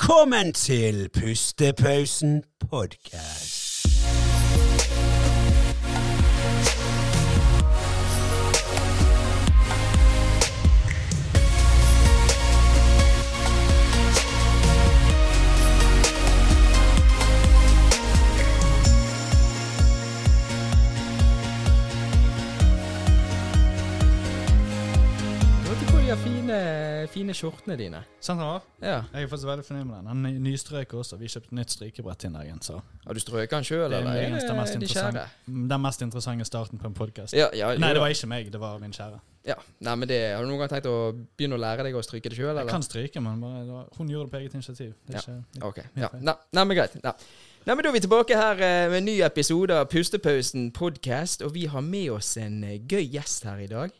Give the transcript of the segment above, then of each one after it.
Velkommen til Pustepausen podcast. Vet du hvor de har fine, fine skjortene dine? Sant han Sånn var? Ja. Jeg er faktisk veldig fornøyd med den. Han ny- nystrøk også. Vi kjøpte nytt strykebrett den dagen, så Har du strøket den sjøl, det er eller? muligens den mest, er de interessante- kjære? den mest interessante starten på en podkast. Ja, ja, jo Nei, det da. var ikke meg, det var min kjære. ja. Nei, men det, Har du noen gang tenkt å begynne å lære deg å stryke det sjøl, Jeg eller? kan stryke, men bare, det var, hun gjorde det på eget initiativ. Det er ikke, Ok, ja. Nei, nei, men greit. Nei. nei, men Da er vi tilbake her eh, med en ny episode av Pustepausen podcast. Og vi har med oss en eh, gøy gjest her i dag.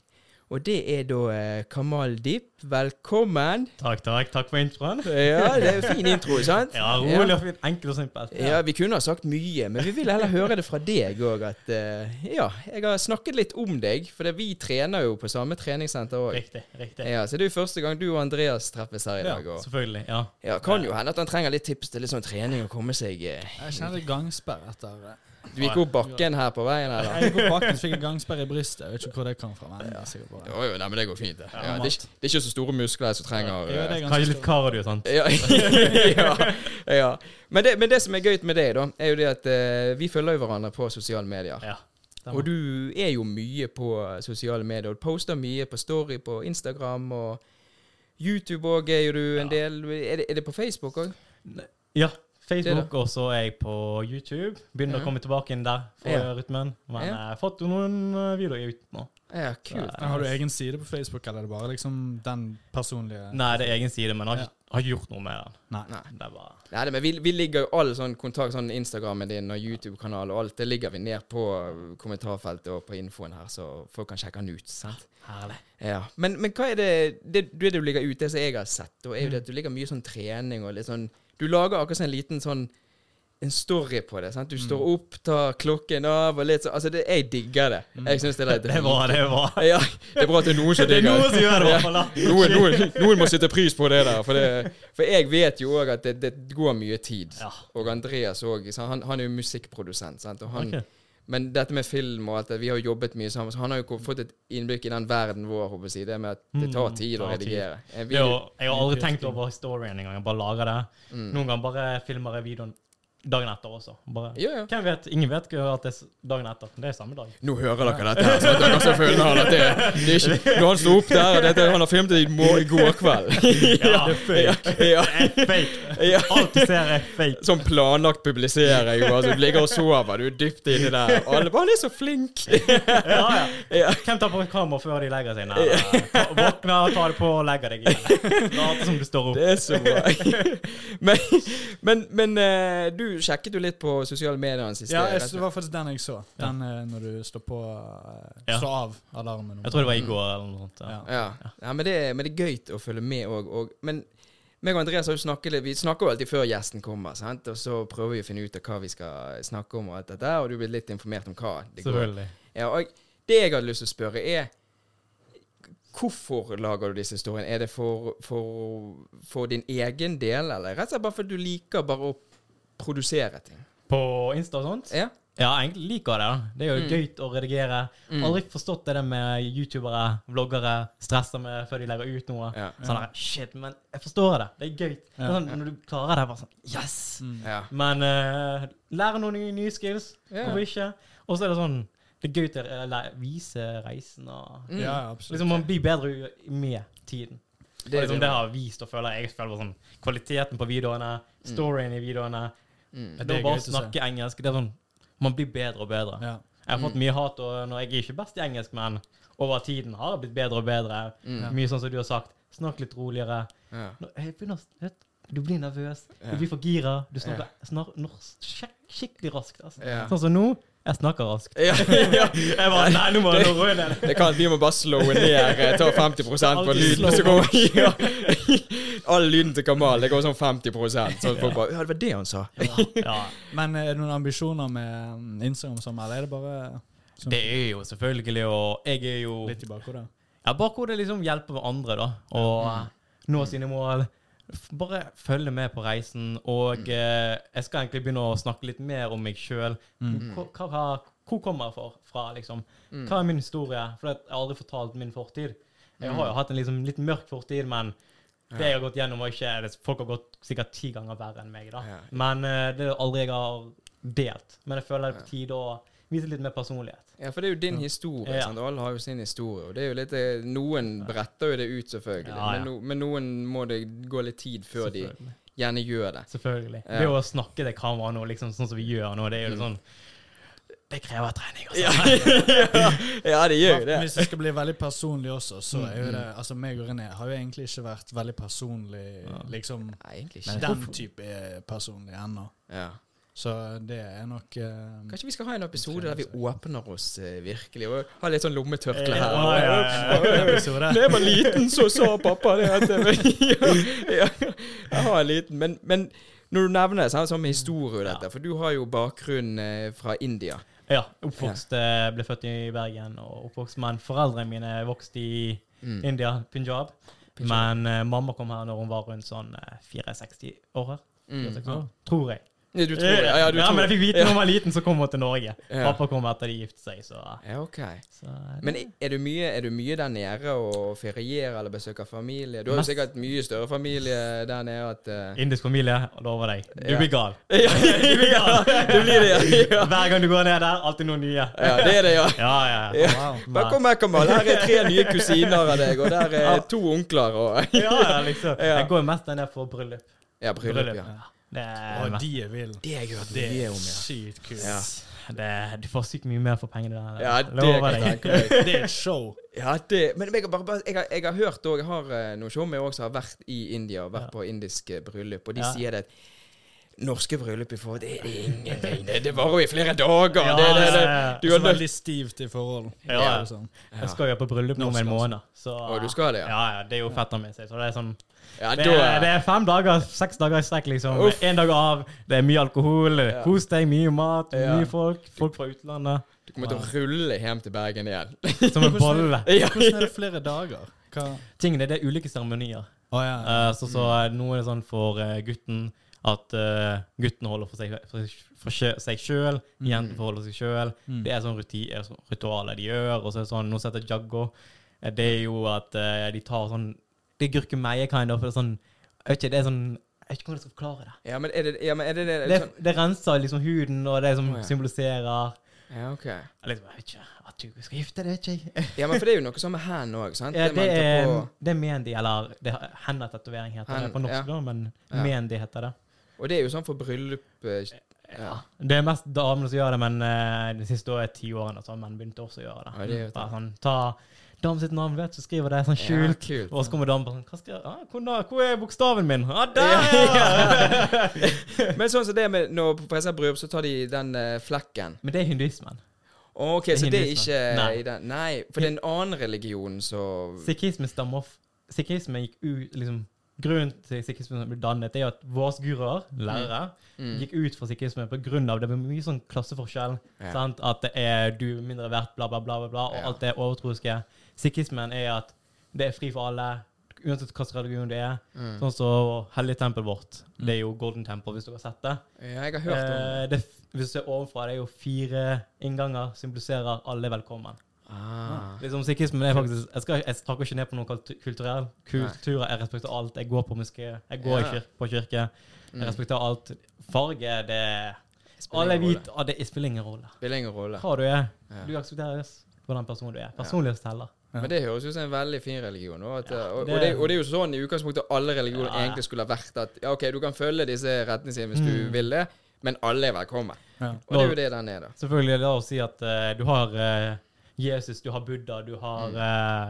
Og det er da eh, Kamal Deep. Velkommen. Takk, takk. Takk for introen. Ja, det er jo fin intro, sant? Ja, rolig og fint. Enkelt og simpelt. Ja, vi kunne ha sagt mye, men vi vil heller høre det fra deg òg at eh, Ja, jeg har snakket litt om deg, for det, vi trener jo på samme treningssenter òg. Riktig. riktig. Ja, så det er jo første gang du og Andreas treffes her i Ja, dag. Og, selvfølgelig. Ja. ja, kan jo hende at han trenger litt tips til litt sånn trening og komme seg eh. jeg kjenner gangsperr etter eh, Du gikk opp bakken her på veien, eller? Jeg gikk opp bakken, så fikk jeg gangsperr i brystet. Jeg vet ikke hvor det kom fra. Men jeg er sikker på det. Jo, jo, nei, men det går fint, det. Ja, det, er, ikke- det er ikke så store muskler som trenger Jo, det eh, er ganske Kanskje litt stort. kardio, sant? ja, ja, ja. Men, det, men det som er gøy med deg, da, er jo det at eh, vi følger jo hverandre på sosiale medier. Ja. Og du er jo mye på sosiale medier. Du poster mye på Story på Instagram og YouTube òg er jo du en del. Er det, er det på Facebook òg? ja. Det Facebook, og så er jeg på YouTube. Ja. Begynner å komme tilbake inn der for Ja. rytmen. Men jeg Ja. har fått noen eh, videoer ut nå. eh, Ja, kult. Men Har du egen side på Facebook, eller er det bare liksom den personlige Nei, det er egen side, men jeg har ikke har ikke gjort noe med den. Nei. Nei. Det er bare Nei, det- men vi, vi ligger jo all sånn kontakt, sånn Instagrammen din og YouTube-kanal og alt, det ligger vi ned på kommentarfeltet og på infoen her, så folk kan sjekke den ut. sant? herlig. Ja, Men, men hva er det, det det du ligger ute, det som jeg har sett, da, er jo det at du ligger mye sånn trening og litt sånn Du lager akkurat sånn en liten sånn en story på det. sant? Du står Mm. opp, tar klokken av og litt sånn Altså, det, jeg digger det. Jeg synes det er Det var det var. Ja, det er bra at det er noen som Det er digger noen som gjør det, i Ja. hvert fall. da. Noen, noen, noen må sette pris på det der. For, det, for jeg vet jo òg at det, det går mye tid. Ja. Og Andreas òg. Han, han er jo musikkprodusent. Sant? Og han, Ok. Men dette med film og alt det, vi har jo jobbet mye sammen, så han har jo ko- fått et innblikk i den verden vår. håper jeg å si, Det med at det tar Mm, tid å tar tid. redigere. Eh, En Det er video, jo- jeg har aldri tenkt over storyen engang. Jeg bare lager det. Mm. Noen ganger bare filmer jeg videoen dagen etter også. Bare, Ja, ja. Hvem vet? Ingen vet ikke at det er s- dagen etter. Det er samme dag. nå hører dere dette, her, så at dere skal føle han at det, det er ikke Når han sto opp der og dette, Han har filmet det i, mor- i går kveld. Ja, det er Ja, Fake. ja. Alt du ser, er fake. Sånn planlagt publisering. bare, så Du ligger og sover, du er dypt inni der. Og alle bare 'Han er så flink'. Ja, ja. Ja. Hvem tar på kamera før de legger seg? Nei, nei, nei. Ta- Våkner, tar det på og legger deg igjen. Later som du står opp. Det er så bra. men men, men eh, du sjekket jo litt på sosiale medier den siste Ja, jeg, rett- det var faktisk den jeg så. Den eh, når du står på eh, Ja. Slå av alarmen. Jeg tror det var i går eller noe sånt. Ja. Ja. ja. ja, men det, er- men det er gøy å følge med òg. Og, men meg og Andreas har jo snakket litt, vi snakker jo alltid før gjesten kommer, sant? og så prøver vi å finne ut av hva vi skal snakke om, og alt dette, og du blir litt informert om hva det går Selvfølgelig. Ja, og det jeg hadde lyst til å spørre er Hvorfor lager du disse historiene? Er det for, for, for din egen del, eller rett og slett bare fordi du liker bare å produsere ting? På Insta og sånt? Ja, Mm. Ja, egentlig liker jeg det. da. Det er jo gøy å redigere. Aldri forstått det der med youtubere, vloggere, stresser med før de legger ut noe. Ja. Sånn der, shit, men jeg forstår det. Det er gøy. Det er sånn, når du klarer det, bare sånn, yes! ja. Men eh, lære noen nye, nye skills. Ja. Hvorfor ikke? Og så er det sånn Det er gøy til å eh, lære- vise reisen og Ja, ja, absolutt. Liksom Man blir bedre u- med tiden. Det, er og liksom, det. det har vist og føler jeg føler bare sånn Kvaliteten på videoene, Mm. storyen i videoene Det, Det er å bare gøy til å snakke engelsk Det er sånn Man blir bedre og bedre. Ja. Jeg har Mm. fått mye hat, og når jeg er ikke best i engelsk, men over tiden har jeg blitt bedre og bedre. Mm. Mye sånn som du har sagt. Snakk litt roligere. Ja. Nå- Jeg begynner, å- vet, du blir nervøs, du blir for gira. Du snakker snar, norsk skik- skikkelig raskt. Altså. Ja. Sånn som nå. Jeg snakker raskt. Ja, ja. Jeg bare, nei, nå må jeg nå roe ned. Det kan, vi må bare slowe ned, eh, ta 50 på Alltid lyden. slow Så går, ja. All lyden til Kamal, det går sånn 50 Så folk bare Ja, det var det han sa. Ja, Men eh, er det noen ambisjoner med mm, Instagram som eller er det bare som, det er jo selvfølgelig, og jeg Oh. er jo litt i bakhodet? Mm. Ja, bakhodet liksom hjelper andre, da. Og eh, nå sine mål. f- bare følge med på reisen. Og eh, jeg skal egentlig begynne å snakke litt mer om meg sjøl. Hvor, hva- hva- hvor kommer jeg for, fra, liksom? Mm. Hva er min historie? For at jeg har aldri fortalt min fortid. Jeg har Mm. jo hatt en liksom, litt mørk fortid, men det jeg har gått gjennom, var ikke det- Folk har gått sikkert ti ganger verre enn meg, da. Ja. Men eh, det er aldri jeg har delt. Men jeg føler det er på tide å vise litt mer personlighet. Ja, for det er jo din historie. Ja. Sant? Og alle har jo sin historie. Og det er jo litt, eh, noen bretter jo det ut, selvfølgelig. Ja, ja. Men, no, men noen må det gå litt tid før de Selvfølgelig. gjerne gjør det. Selvfølgelig. Ja. Mm. Det å snakke til kamera nå, liksom, sånn som vi gjør nå, det er jo sånn Det krever trening. Altså. Ja, ja, det gjør jo det. Mm, Hvis jeg skal bli veldig personlig også, så er jo det Altså, meg og René har jo egentlig ikke vært veldig personlig, liksom Nei, egentlig ikke. Den type er personlig ennå. Ja. Så det er nok eh, Kanskje vi skal ha en episode der vi åpner oss eh, virkelig, og har litt sånn lommetørkle her. Eh, Ja, ja, ja, episode. Da jeg var liten, så sa pappa det. At jeg, ja, ja, jeg har en liten, men, men når du nevner det, så er det sånn med historie og dette, for du har jo bakgrunn eh, fra India. Ja. Oppvokst eh, Ble født i Bergen og oppvokst, men foreldrene mine vokste i India, Punjab. Mm. Punjab. Men eh, mamma kom her når hun var rundt sånn eh, 64 år. her. 64 år, Tror jeg. Mm. Ja, Du tror det? Ja, ja, du men tror jeg fikk vite når hun var liten, så kom hun til Norge. Ja. Pappa kom etter de giftet seg, så, Ja, ok. så eh, det- Men er du mye, er du mye der nede og ferierer eller besøker familie? Du har jo Mest- sikkert mye større familie der nede at eh, Indisk familie, jeg lover deg. Du Ja. blir gal. ja, det blir det, ja. Hver gang du går ned der, alltid noen nye. ja. Det er det, ja. Ja, ja. ja. Wow. Bare kom her, Kamal. Her er tre nye kusiner av deg, og der er to onkler og Ja, ja, liksom. Jeg går mest den der for bryllup. Ja, bryllup, ja. Det er, Og de er ville. Det har jeg hørt Det mye er om, ja. sykt kult. Ja. det er, du får sykt mye mer for pengene der. Ja, det Lover kan jeg deg. tenke meg. Det er et show. Ja, det, men jeg har, bare, bare, jeg har, jeg har hørt, og jeg har eh, noen showmer også som har vært i India og vært på indiske bryllup, og de Ja. sier det at norske bryllup i forhold, det er ingenting. Det, det varer jo i flere dager. det, det, altså, det. Du Du har nødt er Altså, veldig stivt i forhold. Ja, Det er ja. jo sånn. Jeg skal jo på bryllup nå om en Norsk, måned. Så, altså. Å, du skal det, ja. ja? Ja, Det er jo fetteren min sin. Så det er sånn Ja, det da er, det er fem dager, seks dager i strekk, liksom. Uff. En dag av. Det er mye alkohol. Kos deg, mye mat, Ja. mye folk. Folk fra utlandet. Du kommer til å rulle hjem til Bergen igjen. Som en Hvordan bolle. er- Hvordan er det flere dager? Hva? Tingene, det er ulike seremonier. Å ja. Eh, Så, så Mm. er det noe sånn for eh, gutten at eh, gutten holder for seg, for, for sjø- seg sjøl, Mm. jenten forholder seg sjøl. Mm. Det er sånn ruti- eh, sånn ritualer de gjør. Og så er det sånn, noe som heter jaggo. Eh, Det er jo at eh, de tar sånn Det er gurkemeie, kind of. for Det er sånn, jeg vet ikke, det er sånn Jeg vet ikke hvordan jeg skal forklare det. Ja, men er det ja, men er det, sånn- det, Det, det renser liksom huden, og det som Å, ja. symboliserer sånn, Ja, ok. liksom, Jeg vet ikke at du skal gifte deg, vet ikke jeg. Ja, men for det er jo noe sånn med hand òg, sant? Ja, det, man tar er, på, det er mendi, eller det er henna-tatovering heter Hen- det på norsk, ja. da, men Ja. mendi heter det. og det er jo sånn for bryllup eh, Ja. Det er mest damene som gjør det, men eh, de siste år, ti årene så har menn begynt også å gjøre det. Ja, det er jo Bare sånn, ta damen sitt navn, vet du, så skriver det sånn Ja, skjult. kult. og så kommer damen bare sånn Hva skal jeg ah, hvor, da, hvor er bokstaven min? Ah, der! Men sånn som det med når på eksempel bryllup, så tar de den eh, flekken. Men det er hinduismen. Ok, Det er så det er hinduismen. ikke Nei. i den Nei, for det er en annen religion, så Sikhisme stammer f- Sikhisme gikk ut liksom, Grunnen til sikhisme ble dannet, er jo at våre guruer, Mm. lærere, gikk ut fra sikhisme på grunn av det var mye sånn klasseforskjell. Ja. Sant? At det er du er mindre verdt, bla, bla, bla, bla, bla og Ja. alt det overtroiske. Sikhismen er at det er fri for alle, uansett hvilken religion det er. Mm. Sånn som hellig tempel vårt. Det er jo Golden Temple, hvis du har sett det. Ja, jeg har hørt om det. Eh, det f- hvis du ser ovenfra, det er jo fire innganger som impliserer alle velkommen. Ah. Liksom sikhismen er faktisk Jeg, skal, jeg snakker ikke ned på noen kultu- kulturell kulturer. Jeg respekterer alt. Jeg går på moské, jeg går i Ja. Mm. kyr på kirke. Jeg respekterer alt. Farge, det Spiller Alle er ingen rolle. hvite, og det spiller ingen rolle. Spiller ingen rolle. Hva du er, du aksepteres for den personen du er. Personlighet teller. Men det høres ut som en veldig fin religion. Og, at, eh, og, og, det- det, og det er jo sånn i utgangspunktet alle religioner Ja, ja. egentlig skulle ha vært at ja, OK, du kan følge disse retningslinjene hvis Mm. du vil det, men alle er velkommen. Ja. Og det er jo det den er, da. Selvfølgelig er det å si at eh, du har eh, Jesus, du har Buddha, du Mm. har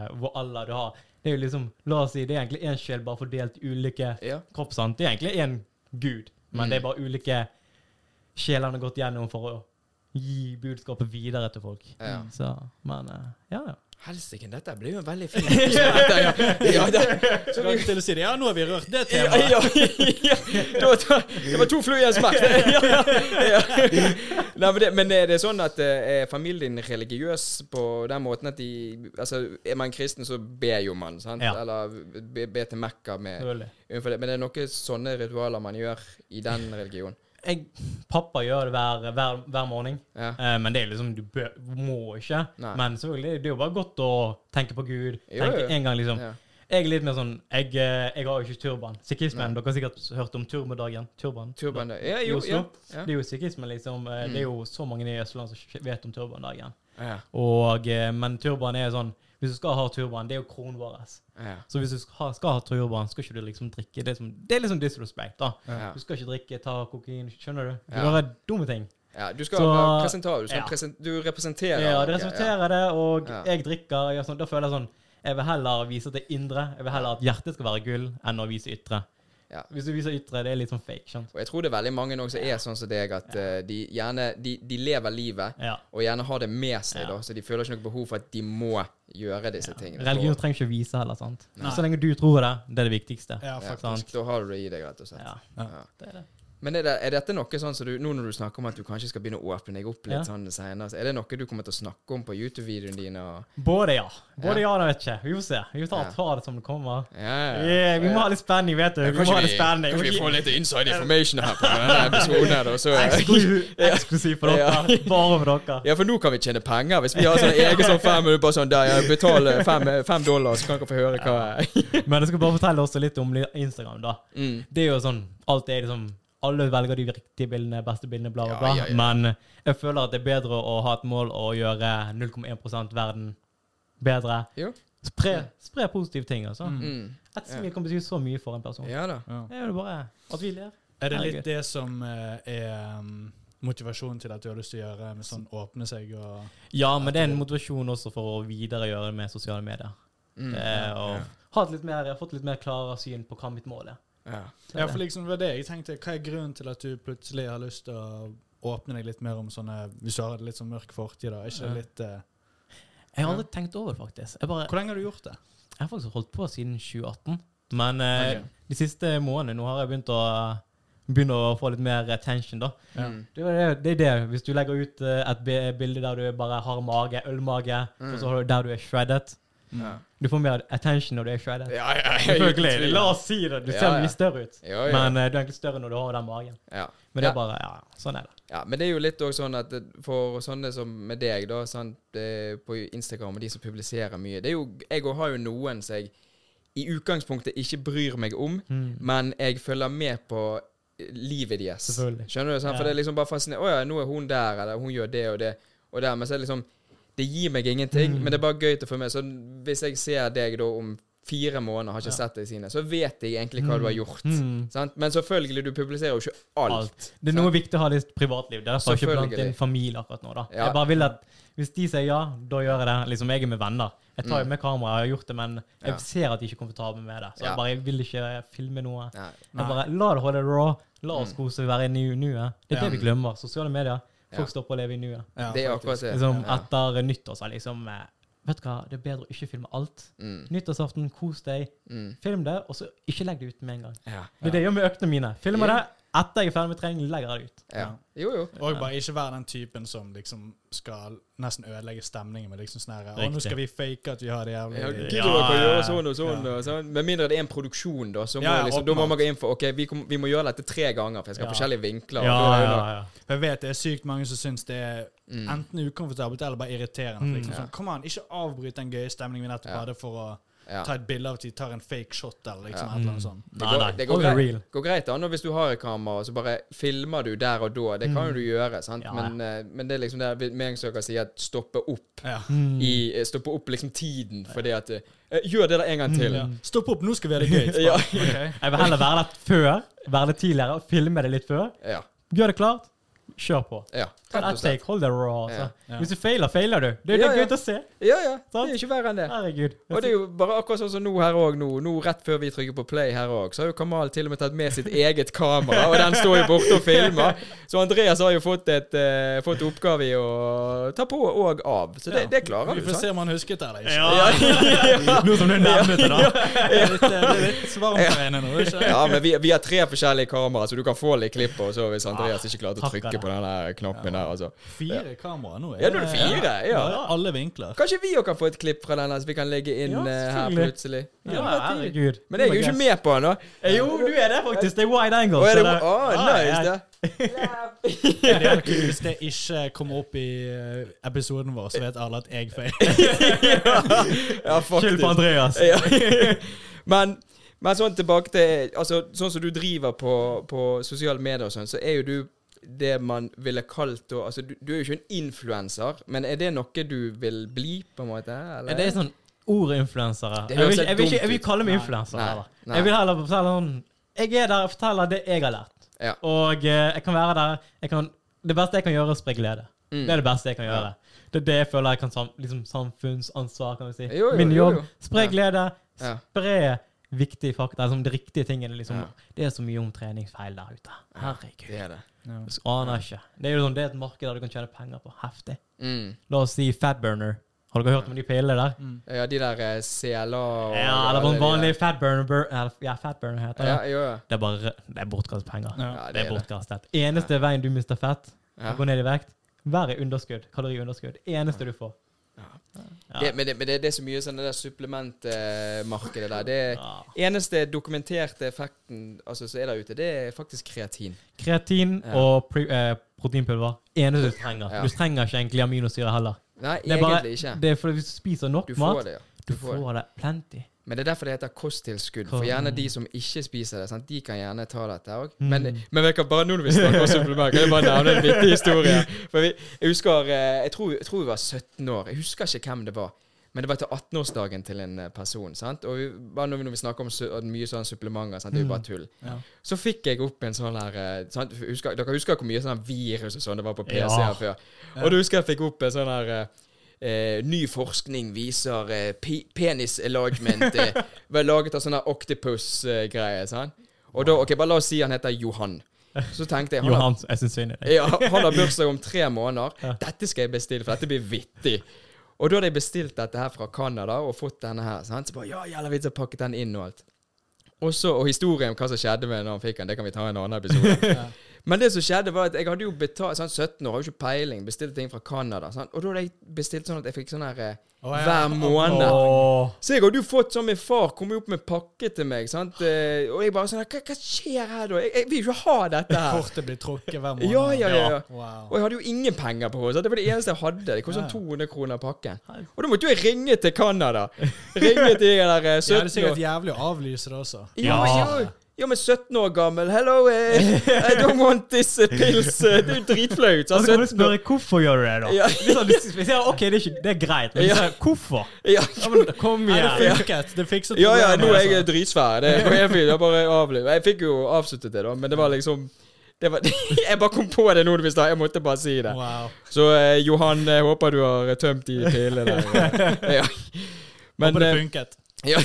eh, hvor Allah, du har Det er jo liksom La oss si det er egentlig én sjel bare fordelt i ulike Ja. kropp, sant? Det er egentlig én gud, men Mm. det er bare ulike sjeler han har gått gjennom for å gi budskapet videre til folk. Ja. Så, men eh, ja, ja. Helsike, dette ble jo en veldig fin episode. Ja, ja, det, Skal til å si det. Ja, nå har vi rørt det ja, temaet. ja, ja. Det, var to, det var to fluer i en smekk. Ja, ja. Nei, men, det, men er det sånn at eh, er familien din religiøs på den måten at de altså, Er man kristen, så ber jo man, sant? Ja. Eller be, be til Mekka med Selvfølgelig. innenfor det. Men det er noen sånne ritualer man gjør i den religionen. Jeg, pappa gjør det hver, hver, hver morgen. Ja. Eh, men det er liksom, du bø må ikke. Nei. Men selvfølgelig, det er jo bare godt å tenke på Gud. Jo, Tenke jo. en gang liksom. Ja. Jeg er litt mer sånn Jeg, eh, jeg har jo ikke turban. Sikhismen, dere har sikkert hørt om turbandagen. Turban. Turban det- ja, I jo, ja. Oslo. Ja. Mm. Det er jo sikhismen, liksom. eh, Det er jo så mange i Østland som ikke vet om turbandagen. Ja. Og, eh, men turban er sånn Hvis du skal ha turban, det er jo kronen vår. Ja. Så hvis du skal ha, skal ha turban, skal ikke du liksom drikke Det er, som, det er liksom disrespect, da. Ja. Du skal ikke drikke, ta kokain, skjønner du? Du Ja. gjør dumme ting. Ja, du skal Så- være presentabel. Du, skal ja. presen- du representerer. Ja, noe, det resulterer det, og Ja. jeg drikker. Jeg gjør sånn, da føler jeg sånn Jeg vil heller vise det indre. Jeg vil heller at hjertet skal være gull, enn å vise ytre. Ja. Hvis du viser ytre, det er litt sånn fake. skjønt? Og jeg tror det er veldig mange nå som er sånn som deg, at eh, de gjerne de, de lever livet, Ja. og gjerne har det med seg, Ja. da, så de føler ikke noe behov for at de må gjøre disse tingene. Religion For- trenger ikke å vise heller, sant? Nei. Så lenge du tror det, det er det viktigste. ja, Ja, faktisk. sant. Da har du det i deg, rett og slett. Ja. Ja. Men er, det, er dette noe sånn som du Nå når du snakker om at du kanskje skal begynne å åpne deg opp litt Ja. sånn senere, så er det noe du kommer til å snakke om på YouTube-videoene dine? Og, Både ja. Både Ja. ja, det vet ikke. Vi får se. Vi får ta, Ja. ta det som det kommer. ja, Yeah, vi må ha litt spenning, vet du. Vi må ha litt spenning. Kanskje vi Vi- får litt inside information her på denne episoden, her, da, så Eksklusiv eksklusiv for Ja. dere. Bare for dere. Ja, for nå kan vi tjene penger. Hvis vi har sånn egen sånn fem minutter, bare sånn der, jeg betaler fem, eh, fem dollar, så kan dere få høre hva Men jeg skal bare fortelle også litt om li- Instagram, da. Mm. Det er jo sånn Alt er liksom Alle velger de riktige bildene, beste bildene, bla, bla, Ja, bla. ja, ja. Men jeg føler at det er bedre å ha et mål å gjøre 0,1 verden bedre. Jo. Spre, spre positive ting, altså. Mm. Et smil kan bety så mye for en person. Ja da. Ja. Det er jo bare at vi ler. Er det Herregud. litt det som eh, er um, motivasjonen til at du har lyst til å gjøre med sånn åpne seg og Ja, men det er en motivasjon også for å videregjøre med sosiale medier. Mm. Det er å ha et litt mer, jeg har fått litt mer klare syn på hva mitt mål er. Ja. Så Ja, det- for liksom det var det jeg tenkte. Hva er grunnen til at du plutselig har lyst til å åpne deg litt mer om sånne Hvis du har et litt sånn mørk fortid, da. Er ikke det litt eh, jeg har aldri tenkt over det, faktisk. Jeg, bare, Hvor lenge har du gjort det? jeg har faktisk holdt på siden 2018. Men eh, Ok. de siste månedene nå har jeg begynt å Begynne å få litt mer attention, da. Ja. Mm. Det er det. det, er det. Hvis du legger ut eh, et bi- bilde der du bare har mage, ølmage, og så har du der du er shredded Ja. Du får mer attention når du er shredded. Ja, ja, ja, Selvfølgelig. La oss si det. Du ser Ja, ja. mye større ut. Ja, ja. Men eh, du er egentlig større når du har den magen. Ja. Men det er bare Ja, sånn er det. ja, men det er jo litt òg sånn at det- for sånne som med deg, da, sant, det, på Instagram og de som publiserer mye Det er jo, Jeg òg har jo noen som jeg i utgangspunktet ikke bryr meg om, Mm. men jeg følger med på livet deres. Selvfølgelig. Skjønner du? Sant? For Ja. det er liksom bare fascinerende. Å ja, nå er hun der, eller hun gjør det og det og der. Men så er det liksom Det gir meg ingenting, Mm. men det er bare gøy til å få med. Så hvis jeg ser deg da om fire måneder, har ikke sett deg siden, så vet jeg egentlig hva du har gjort. Mm. Sant? Men selvfølgelig, du publiserer jo ikke alt. Alt. Det er noe viktig å ha litt privatliv. Det er derfor jeg ikke blant Selvfølgelig. inn familie akkurat nå. da. Ja. Jeg bare vil at Hvis de sier ja, da gjør jeg det. Liksom, Jeg er med venner. Jeg tar jo med kamera, jeg har gjort det, men jeg Mm. Ja. ser at de ikke er komfortable med det. Så Ja. jeg bare jeg vil ikke filme noe. Nei. Mm. Jeg bare, La det holde raw. La oss kose og være i nu- nuet. Det er Ja. det vi glemmer. Sosiale medier. Ja. Folk stopper å leve i nuet. Ja, det er faktisk. akkurat det. Liksom, ja. Etter nyttår så er liksom eh, Vet du hva, det er bedre å ikke filme alt. Mm. Nyttårsaften, kos deg. Mm. Film det, og så ikke legg det ut med en gang. Ja. Det er det jeg gjør med øktene mine. Filmer det etter jeg er ferdig med trening, legger jeg det ut. ja. Jo, jo. Og bare ikke være den typen som liksom skal nesten ødelegge stemningen med liksom sånn her Å, nå Riktig. skal vi fake at vi har det jævlig Ja, ja, Gidder dere å gjøre ja. sånn og sånn, og sånn? Med mindre det er en produksjon, da. Så må, Ja, ja, liksom, da må åpenbart. man gå inn for OK, vi, kom, vi må gjøre dette tre ganger, for jeg skal ha Ja. forskjellige vinkler. og da er det nok- For Jeg vet det er sykt mange som syns det er Mm. enten ukomfortabelt eller bare irriterende. Mm. for Liksom, sånn, Kom an, ikke avbryt den gøye stemningen vi nettopp hadde for å Ja. ta et bilde av at de tar en fake shot eller liksom et eller annet sånt. Det Nei, går, nei. det går Hold it greit, real. går greit an og hvis du har et kamera, så bare filmer du der og da. Det kan jo du gjøre, sant? Mm. Ja, ja. Men, eh, men det er liksom det vi- med en gang dere sier at stoppe opp. Ja. Mm. I, eh, stoppe opp liksom tiden, fordi at eh, Gjør det der en gang til. Mm. Ja. Stopp opp, nå skal vi ha det gøy. Ja. Ok. Jeg vil heller være der før, være det tidligere, og filme det litt før. Ja. Gjør det klart. kjør på. Ja, Ta rett ett og slett. take, hold deg raw. Altså. Ja. Hvis du feiler, feiler du. Det er Ja, det ja. gøy til å se. Ja, ja. Det er jo ikke verre enn det. Herregud. Og det er jo bare akkurat sånn som nå her òg, nå, nå rett før vi trykker på play her òg, så har jo Kamal til og med tatt med sitt eget kamera, og den står jo borte og filmer. Så Andreas har jo fått, et, eh, fått oppgave i å ta på og av. Så det, det klarer Vi du, får sant? se om han husket det eller ikke. Ja. Nå som du nevner det, da. Det er litt, eh, det er litt varmt for henne nå, ikke Ja, men vi, vi har tre forskjellige kameraer, så du kan få litt klipp og så hvis Andreas ikke klarte å Ah, takk, trykke på den der knappen der, altså. Fire kameraer nå. Ja, nå er det fire, ja. Bare Alle vinkler. Kanskje vi òg kan få et klipp fra den, her, så vi kan legge inn Ja, eh, her selvfølgelig. plutselig. Ja, det var tidlig. herregud. Oh Men jeg er jo ikke med på den, da. Eh, Jo, du er det, faktisk. Det er wide angle. Å, er så det, det- å, Ah, nice, ja. det. Ja, det er kult Hvis det ikke kommer opp i eh, episoden vår, så vet alle at jeg feiler. Ja, Skyld faktisk. på Eh, Andreas. Ja. men, men sånn tilbake til altså, Sånn som du driver på, på sosiale medier og sånn, så er jo du det man ville kalt da altså, du, du er jo ikke en influenser, men er det noe du vil bli, på en måte? Eller? Ja, Det er sånn ordinfluensere. Det Jeg vil høres ikke, jeg vil helt ikke, jeg vil ikke kalle meg Nei. influenser. Nei. heller. Nei. Jeg vil heller fortelle sånn Jeg er der og forteller det jeg har lært. Ja. Og eh, jeg kan være der jeg kan, Det beste jeg kan gjøre, er å spre glede. Mm. Det er det beste jeg kan gjøre. Det er det jeg føler jeg kan sam, liksom samfunnsansvar, kan vi si. Jo, jo, Min jo, jobb. jo. Spre Ja. glede. Ja. Spre viktige fakta. Liksom de riktige tingene. Liksom. Ja. Det er så mye om treningsfeil der ute. Herregud. Det er det. Du aner ikke. Det er jo sånn, det er et marked der du kan tjene penger på. Heftig. Mm. La oss si Fatburner. Har dere hørt om de pillene der? Ja, de der eh, CLA og Ja, sånn det var en vanlig fatburner bur- eller, Ja, fatburner heter det. Ja, jo, ja. Det er bare det er bortkastet penger. Ja. Ja, det det er er bortkastet. Eneste veien du mister fett, Ja. går ned i vekt, hver er underskudd. Kaloriunderskudd. Eneste du får. Ja. Det, men det, men det, det er så mye sånn det der supplementmarkedet der. Det er, Ja. eneste dokumenterte effekten altså, som er der ute, det er faktisk kreatin. Kreatin Ja. og pre, eh, proteinpulver. Eneste du trenger. Ja. Du trenger ikke egentlig aminosyre heller. Nei, Det er bare, egentlig ikke. det er fordi hvis du spiser nok Du mat, får det, ja. du får det plenty. Men det er derfor det heter kosttilskudd. For Kom. gjerne de som ikke spiser det, sant? de kan gjerne ta dette òg. Mm. Men, men vi kan bare nå når vi snakker om supplement, kan jeg bare nevne en viktig historie. For vi, jeg husker eh, jeg tror, jeg tror vi var 17 år. Jeg husker ikke hvem det var. Men det var til 18-årsdagen til en eh, person. sant? Og vi, bare når vi, når vi snakker om su og mye sånne supplementer, sant? det er jo bare tull. Ja. Så fikk jeg opp en sånn her eh, sant? Husker, Dere husker hvor mye sånn her virus og sånn det var på PC Ja. her før? Og du husker jeg fikk opp en sånn her eh, eh, ny forskning viser eh, pe penis enlargement eh, var laget av sånne octopus-greier. sant? Og da, ok, bare La oss si han heter Johan. Så tenkte jeg han har, Johan, jeg syns synd i deg. ja, han har bursdag om tre måneder. Dette skal jeg bestille, for dette blir vittig. Og da hadde jeg bestilt dette her fra Canada og fått denne her. sant? Så bare, ja, jævla vits, jeg pakket den inn og alt. Og så, og historien om hva som skjedde med når han fikk den, det kan vi ta i en annen episode. Men det som skjedde var at jeg hadde jo betalt sånn 17 år, har jo ikke peiling, bestilte ting fra Canada. sant? Og da hadde jeg bestilt sånn at jeg fikk sånn her eh, Å, ja. hver måned. Åh. Så jeg hadde jo fått sånn Min far kom jo opp med pakke til meg, sant? Eh, og jeg bare sånn Hva, hva skjer her, da? Jeg, jeg vil jo ikke ha dette her. Kortet blir trukket hver måned. Ja, ja, ja. ja. Wow. Og jeg hadde jo ingen penger på henne. Det var det eneste jeg hadde. Det kostet Ja. sånn 200 kroner pakken. Og da måtte jo jeg ringe til Canada. Ringe til de der eh, Ja, det er 17 sikkert år. jævlig å avlyse det også. Ja, ja. Ja, men 17 år gammel. Hello, eh, I don't want this eh, pills. eh, Det er jo dritflaut. Og sant? så Altså, kan 17 du år. spørre hvorfor gjør du det, da. Ja. Det er sånn, hvis- hvis jeg sier ok, det er, ikke, det er greit, Ja. men hvis jeg sier, hvorfor? Ja, Ja, men kom Nei, det igjen. funket. Det fikset Ja, ja, nå problemet, er jeg altså. dritsvær. Det går helt fint. Jeg bare avliv. Jeg fikk jo avsluttet det, da, men det var liksom det var, Jeg bare kom på det nå, hvis da. jeg måtte bare si det. Wow. Så eh, Johan, jeg håper du har eh, tømt de pillene der. Ja. Men Håper det eh, funket. ja,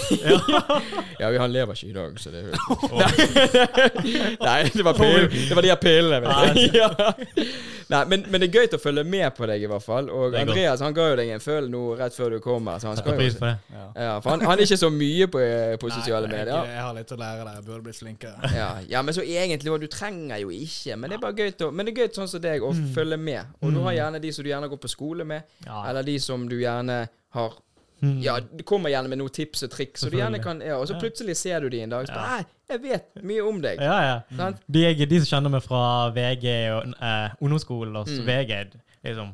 ja, vi- han lever ikke i dag, så det er jo Nei. Nei, det var pill. Det var de her pillene. Vet du. Ja. Nei, men, men det er gøy til å følge med på deg, i hvert fall. Og Det er godt. Andreas han ga jo deg en føl nå rett før du kommer. Så han Jeg setter skal jo pris på det. ja, for han, han er ikke så mye på, eh, på sosiale Nei, jeg- medier. Jeg har litt å lære der. Jeg burde blitt flinkere. Ja, ja, men så egentlig, og du trenger jo ikke, men det er bare gøy til, å- men det er gøy til sånn som deg å følge med. Og du har gjerne de som du gjerne går på skole med, Mm. Ja. Mm. eller de som du gjerne har Ja, du kommer gjerne med noen tips og triks, og du gjerne Selvfølgelig. kan ja, Og så plutselig ser du de en dag, så bare Nei, jeg vet mye om deg. Ja, ja. Sant? De, jeg, de som kjenner meg fra VG og eh, ungdomsskolen, og Mm. så VG liksom,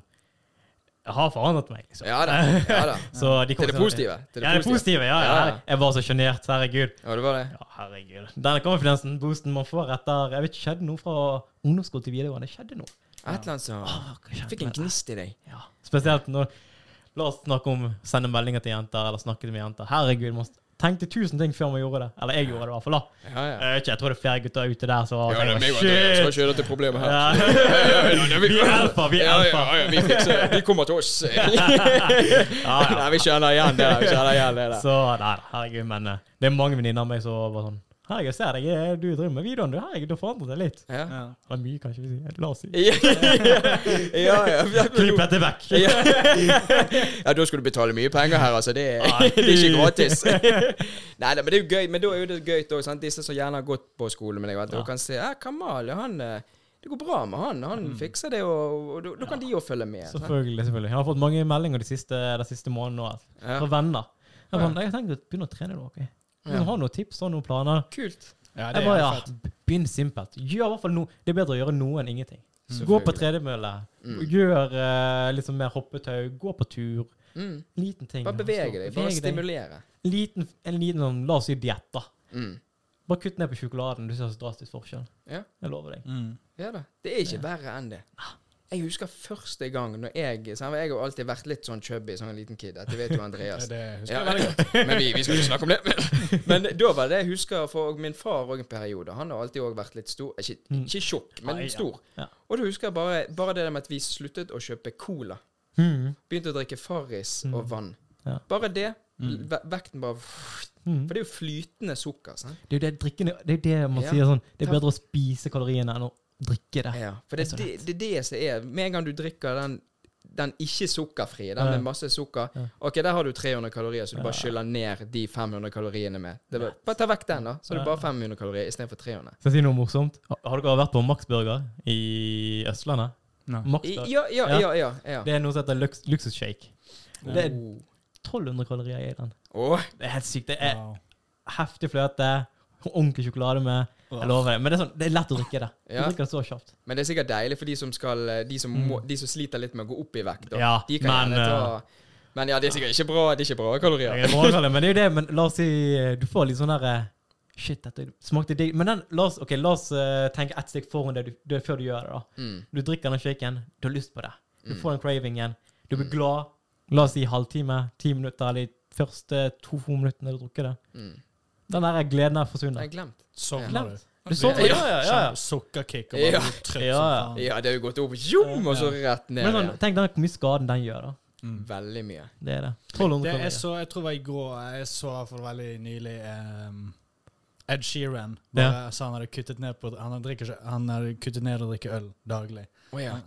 har forandret meg. Liksom. Ja da. ja da Så de Til det kommer sånn- positive, til det ja, det positive. positive. Ja, ja. Ja, ja. Jeg var så sjenert. Herregud. Ja, det var det. Ja, herregud. Denne konfidensen, boosten man får etter Jeg vet ikke, skjedde noe fra ungdomsskole til videregående. Skjedde noe. Et eller annet som Åh, hva skjedde fikk en med det? gnist i deg. Ja. Spesielt når La oss snakke om sende meldinger til jenter, eller snakke med jenter. Herregud, man tenkte tusen ting før vi gjorde det. Eller jeg gjorde det i hvert fall. da. Ja, ja. Jeg vet ikke, jeg tror det er flere gutter ute der Ja, det som er tenker, meg og Andreas som shit! kjører til problemet her. Ja. vi, Vi er alfa, vi er ja, ja, alfa. ja, vi fikser det. De kommer til oss. Nei, vi kjenner igjen det. der, Vi kjenner igjen det der. Så nei, da, herregud, men eh, det er mange venninner av meg som var sånn Herregud, ser deg, eh, du driver med videoen, du. Herregud, du har forandret deg litt. Ja. Ja. Eller mye, kanskje. vi sier. La oss si. Ja, ja, ja. Klipp dette vekk! Ja. ja, da skal du betale mye penger her, altså. Det, Nei. det er ikke gratis. Nei, nei, men det er jo gøy. Men da er jo det gøy òg, sant. Disse som gjerne har gått på skole med deg, vet du, Ja. og kan se ja, Kamal, han eh, Det går bra med han. Han Mm. fikser det, og, og da- da kan de jo følge med. sant? Selvfølgelig. selvfølgelig. Jeg har fått mange meldinger de siste, de siste månedene nå, altså. Ja. fra venner. Jeg, bare, jeg har tenkt å begynne å trene nå. ok? Hvis du har noen tips og noen planer Kult. Ja, det Jeg er bare, jævlig ja, fett. Begynn simpelt. Gjør i hvert fall noe. Det er bedre å gjøre noe enn ingenting. Gå på tredemølle. Gjør eh, litt sånn mer hoppetau. Gå på tur. Mm. Liten ting. Bare bevege deg. Bare Beveg deg. stimulere. Liten, en liten sånn, la oss si diett, da. Mm. Bare kutt ned på sjokoladen. Du ser så drastisk forskjell. Ja. Jeg lover deg. Mm. Ja da. Det er ikke verre enn det. Jeg husker første gang når jeg sant, Jeg har jo alltid vært litt sånn chubby som en liten kid. Dette vet jo Ja, Andreas. det husker Ja, jeg veldig godt. Men vi, vi skal ikke snakke om det. Men da var det jeg husker for og min far òg en periode. Han har alltid òg vært litt stor. eh, Ikke, ikke tjukk, men Nei, Mm. ja. stor. Ja. Og da husker jeg bare, bare det der med at vi sluttet å kjøpe cola. Mm. Begynte å drikke Farris og Mm. vann. Ja. Bare det. ve- Vekten bare For det er jo flytende sukker. sant? Mm. Det er jo det drikkende Det er jo det man Ja. sier sånn Det er Ta- bedre å spise kaloriene enn å drikke det. Ja, for det, Det er så det, det er det som er Med en gang du drikker den den ikke sukkerfrie, den Ja. med masse sukker Ok, der har du 300 kalorier, så du bare skyller ned de 500 kaloriene med. Det er bare, bare ta vekk den, da. Så er det bare 500 kalorier istedenfor 300. Skal jeg si noe morsomt? Har har dere vært på Max Burger i Østlandet? Nei. Max I- Burger. Ja, ja, Ja. ja. ja, ja. Det er noe som heter luks luksusshake. Det er Oh. 1200 kalorier i den. Åh, Det er helt sykt. Det er Wow. heftig fløte, ordentlig sjokolade med. Jeg lover det. Men det er, sånn, det er lett å drikke det. Du Ja. drikker det så kjapt. men det er sikkert deilig for de som, skal, eh, de som, må, de som sliter litt med å gå opp i vekt. da. Mm. Ja, de kan men, eh, gjerne ta, men ja, det er sikkert ikke bra Det er ikke bra kalorier. Jeg er morgenkallet, men det er jo det. Men la oss si eh, du får litt sånn der eh, Shit, dette smakte digg. Men den, la oss, ok, la oss eh, tenke ett steg foran det du, det, før du gjør det. da. Mm. Du drikker den shaken, du har lyst på det. Du Mm. får den cravingen. Du blir glad. La oss si halvtime, ti minutter, eller de første to minuttene du drukker det. Mm. Den der gleden Nei, der forsvinner. glemt. Sovner Glemt. du? Du sovner, ja, ja, ja, Kjenner ja. Sukkerkick og bare Ja. blir trøtt Ja, ja. som faen. Ja, det har jo gått opp, jom, og så rett ned Men sånn, igjen. tenk den, hvor mye skaden den gjør, da. Mm. Veldig mye. Det er det. 1200 Det kalorier. er så, jeg tror det var i går Jeg så i hvert fall veldig nylig ehm, Ed Sheeran bare Ja. sa han hadde kuttet ned på Han drikker ikke Han hadde kuttet ned å drikke øl daglig. Å ja.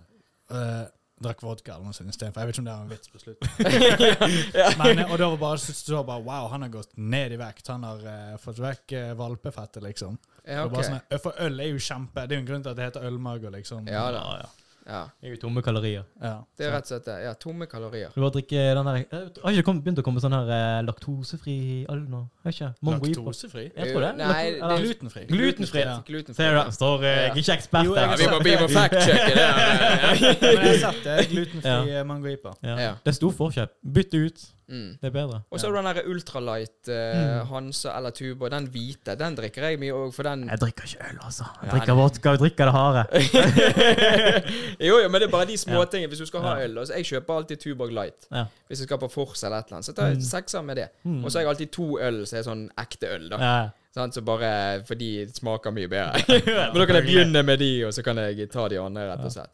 Eh, drakk vodka eller noe sånt istedenfor. Jeg vet ikke om det var en vits på slutten. Ja. Men, eh, og da var bare, så, så var bare Wow, han har gått ned i vekt. Han har eh, fått vekk eh, valpefettet, liksom. Ja, Det var ok. bare sånn, eh, For øl er jo kjempe Det er jo en grunn til at det heter ølmage, liksom. Ja da. Ja, ja. Ja. Det er jo tomme kalorier. Ja. Det er rett og slett det. Ja, tomme kalorier. Du bare drikker den der Jeg Har ikke det kommet- begynt å komme sånn her eh, laktosefri øl nå? Har ikke? Mango IPA? Laktosefri? Jeg tror det. Eh, Nei, Lakto- det- eller- Glutenfri. Glutenfri. Ja. Glutenfri. Ser du det? Står eh, Jeg er ikke ekspert Jo, jeg der. er Ja, altså. vi må, vi må fact-sjekke det. her. Men jeg har sett det. Glutenfri eh, ja. mangoipa. Ja. Ja. Det er stor forskjell. Bytt det ut. Mm. Det er bedre. Og så har du den der ultralight Mm. uh, Hansa eller Tuba. Den hvite, den drikker jeg mye òg, for den Jeg drikker ikke øl, altså. Jeg Ja, drikker vodka, jeg drikker det harde. Jo, jo, men det er bare de småtingene. Hvis du skal ha øl altså, Jeg kjøper alltid Tuborg Light. Ja. Hvis jeg skal på Fors eller et eller annet, så tar Mm. jeg sekser med det. Mm. Og så har jeg alltid to øl som er sånn ekte øl, da. Ja. Sant? Så bare fordi det smaker mye bedre. men da kan jeg begynne med de, og så kan jeg ta de andre, rett og slett.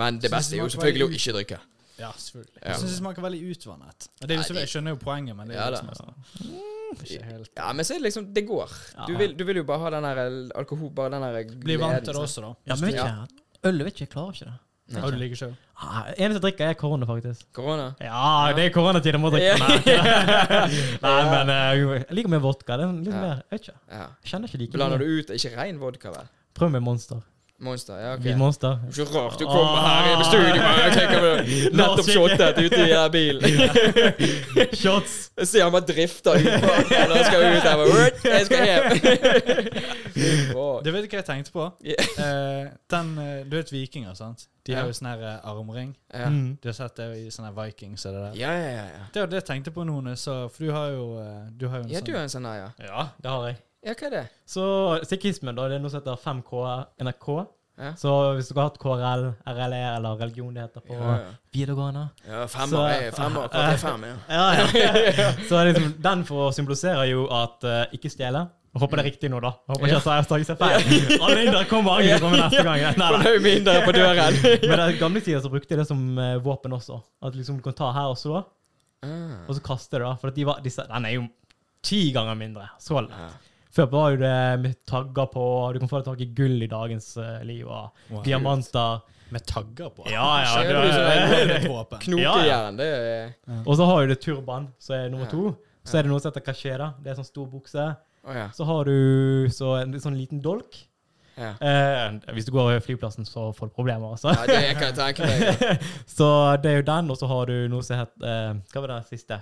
Men det Så beste er jo smaker selvfølgelig å veldig ikke drikke. Ja, selvfølgelig. Ja. Jeg syns det smaker veldig utvannet. Og det er jo, så- Nei, jeg skjønner jo poenget, men det Ja er da. liksom ikke helt Ja, men så er det liksom Det går. Du vil, du vil jo bare ha den der alkohol, bare den der Bli vant til det gleden, også, da. ja, men vet ikke. Øl vet ikke, jeg klarer ikke det. Og du liker sjøl. Ah, eneste jeg drikker, er korona, faktisk. sant? Korona. Ja, det er koronatid, jeg må drikke. Ja. Nei, Nei men eh, jo, jeg liker mer vodka. Det er litt mer, jeg vet ikke. Ja. Jeg kjenner ikke like Blander mye. du ut Ikke rein vodka, vel? Prøv med Monster. Monster. Ja, ok. Hvit Monster. Så rart du kommer Ah. her i studio og tenker på det. nettopp shottet ute i eh, bilen. Shots! Jeg ser han bare drifter ut på den, og jeg skal ut her. bare, "Wurt, Jeg skal hjem. Åh, Du vet ikke hva jeg tenkte på? Ja. Eh, den, eh, du vet vikinger, sant? De har Ja. jo sånn her eh, armring. Ja. Mm. Du har sett det i sånne her Vikings og det der. ja, ja, ja. ja. Det var det jeg tenkte på nå, når jeg så For du har jo, eh, du har jo en Ja, sånn du er en sånn her, ja. Ja, det har jeg. Ja, hva er det? Så sikhismen, da. Det er noe som heter 5K NRK. Ja. Så hvis du har hatt KRL, RLE eller religion det heter på Ja, ja. videregående Ja, Så- femmer er femmer. Hva er fem? Ja. ja, ja. Så liksom, den for symboliserer jo at eh, ikke stjele. Jeg håper det er riktig nå, da. Jeg håper ikke at jeg har seg feil. Alle indere kommer angrer på meg neste gang. Nei, nei. Fornøyd med indere på døren. Men i gamle tider så brukte jeg det som eh, våpen også. At liksom du kan ta her og så, Ah, og så kaste det. da. For at de var, disse, den er jo ti ganger mindre. Så lett. ja. Før var jo det med tagger på, du kan få tak i gull i dagens eh, liv, og Wow. diamanter. Med tagger på. Ja, ja. Ser du det- Det er et våpen. Ja, ja. Knokejern, det er Og så har jo det turban, som er nummer Ja. to. Så er det noe som heter kasjé, da. Det er sånn stor bukse. Å ja. Så har du så en sånn liten dolk. ja. Eh, hvis du går over flyplassen, så får du problemer, altså. Ja, det kan jeg tenke meg. Så det er jo den, og så har du noe som heter eh, Hva var det siste?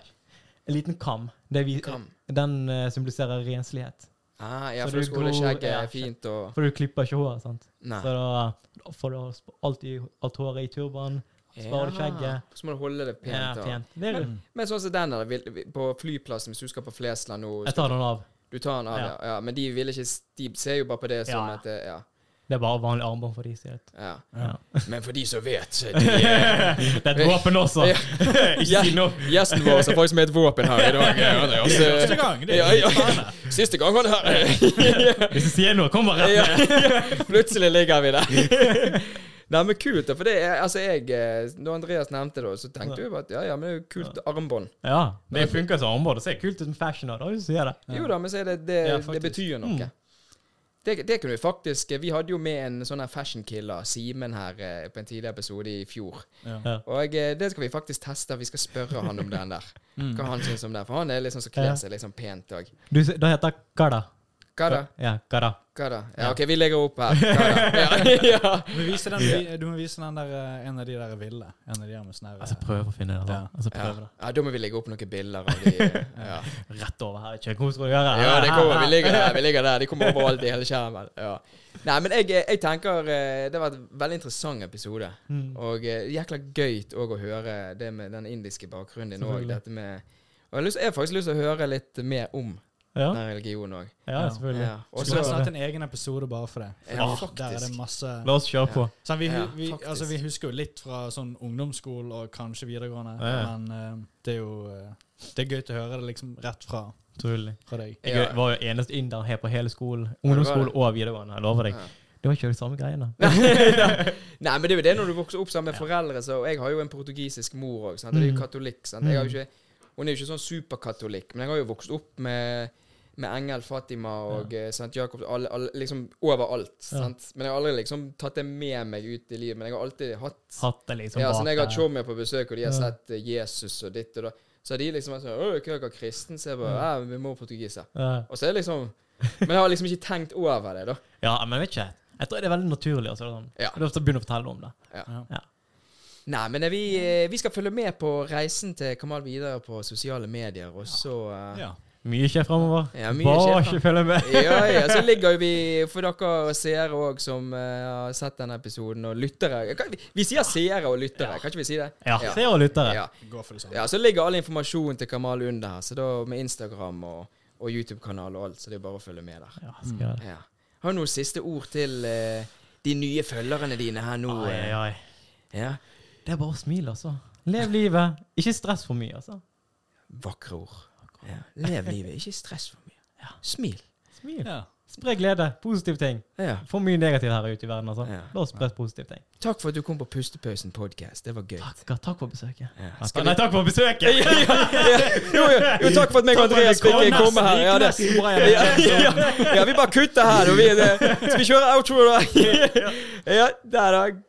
En liten kam. Det vi, Kam. Den eh, symboliserer renslighet. Ah, ja, Så for du skole skjegget gror- er ja, fint og For du klipper ikke håret, sant? Nei. Så da da får du sp- alltid alt håret i turban, sparer du skjegget. Så må du holde det pent. Ja, da. fint. Det er, Men sånn som den der, vil- på flyplassen, hvis du skal på Flesland nå jeg tar den av. Du tar den av, ja. Ja. ja. Men de vil ikke De ser jo bare på det som Ja. at det, ja. Det er bare vanlig armbånd for de, sier jeg. ja. Ja. Men for de som vet de, Det er et våpen også! Ja. Ikke si noe. Gjesten vår som faktisk med et våpen her i dag. ja, det er også- Første gang, det er ja, ja. Siste gang han er her. Hvis du sier noe, kom bare rett Ja. Plutselig ligger vi der. Nei, men kult, da. For det er altså jeg eh, Når Andreas nevnte det, så tenkte jeg jo bare at ja, ja, men det er jo kult armbånd. Ja, det funker som armbånd. Det ser kult ut med fashion. Da, hvis du sier det. Jo da, men så er det Det, Ja, det faktisk. Mm. betyr noe. Det, det kunne vi faktisk eh, Vi hadde jo med en sånn her fashion killer, Simen, her eh, på en tidligere episode i fjor. Ja. Og eh, det skal vi faktisk teste. Vi skal spørre han om den der. Mm. Hva han syns om den. For han er liksom som Ja. kler seg liksom pent òg. Du, s- da heter Gada. Hva da? Ja, Gada. Hva da? Ja, OK, vi legger opp her. Hva da? Ja, ja. Du må vise den, vi- du må vise den der, eh, en av de der ville. En av de der med sånn her, Altså, eh, prøv å finne det. Da. Ja. Altså, Ja. prøv ja, da må vi legge opp noen bilder av de Ja, det. Rett over her. Ikke hva skal du gjøre. ja det kommer, vi ligger der. vi ligger der De kommer overalt i hele skjermen. Ja. Nei, men jeg, jeg tenker eh, det var en veldig interessant episode. Og eh, jækla gøyt òg å høre det med den indiske bakgrunnen din òg. Selvfølgelig. Dette med Og jeg har lyst- jeg har faktisk lyst til å høre litt mer om Ja, den religionen òg. ja, selvfølgelig. Ja. Og Og så har så jeg hatt en egen episode bare for det. Ja, Ah, faktisk. Der er det masse La oss kjøre på. sånn, vi, hu- Ja, vi, faktisk. altså, vi husker jo litt fra sånn ungdomsskolen og kanskje videregående, Ja, ja. men eh, det er jo eh, Det er gøy til å høre det liksom rett fra, Selvfølgelig. fra deg. Jeg Ja. var jo eneste inder her på hele skolen. det var Ungdomsskolen det. og videregående. Jeg lover deg. Ja. Det var ikke de samme greiene. Nei, men det er jo det når du vokser opp sammen med foreldre. Så, og jeg har jo en portugisisk mor òg, og det er Mm. jo katolikk. Sant? Jeg har jo ikke, hun er jo ikke sånn superkatolikk, men jeg har jo vokst opp med, med Engel, Fatima og ja. St. Jakob alle, alle, liksom overalt. Sant? Men jeg har aldri liksom tatt det med meg ut i livet. Men jeg har alltid hatt Hatt det liksom ja, så bak Når jeg har der. hatt showmye på besøk, og de har sett eh, Jesus og ditt og da, så har de liksom vært sånn Å, hva er dere kristen? Så jeg bare Ja, Mm. vi må portugiser. Ja. Og så er det liksom Men jeg har liksom ikke tenkt over det, da. Ja, men vet ikke. Jeg tror det er veldig naturlig. Altså, sånn. Ja. Du ofte begynner å fortelle om det. Nei, men vi, eh, vi skal følge med på reisen til Kamal videre på sosiale medier, og så eh, Ja. Mye skjer framover. Ja, mye Bare skjer ikke følge med. ja, ja, så ligger jo vi for dere seere òg som eh, har sett denne episoden, og lyttere Kan- Vi, vi sier seere og lyttere, kan ikke vi si det? Ja, Ja. se og lyttere. Ja. Gå for det samme. ja, så ligger all informasjon til Kamal under her, så da med Instagram og, og YouTube-kanal og alt, så det er bare å følge med der. Ja, skal jeg gjøre det. Ja. Har du noen siste ord til eh, de nye følgerne dine her nå? Oi, eh? oi, oi. Ja, Det er bare å smile, altså. Lev livet. Ikke stress for mye, altså. Vakre ord. Ja. Lev livet, ikke stress for mye. Smil. Smil. Ja. Spre glede. Positive ting. Ja. For mye negativt her ute i verden, altså. Ja. Bare spre positive ting. Takk for at du kom på Pustepausen podcast. Det var gøy. Takk, takk for besøket. Ja. Takk- Nei, takk for besøket! Ja, ja, jo, jo, jo, takk for at meg og Andreas fikk eh, komme her. Ja, det. Ja, ja, ja, vi bare kutter her. Og vi, det. Skal vi kjøre outro, da? Ja, der, da.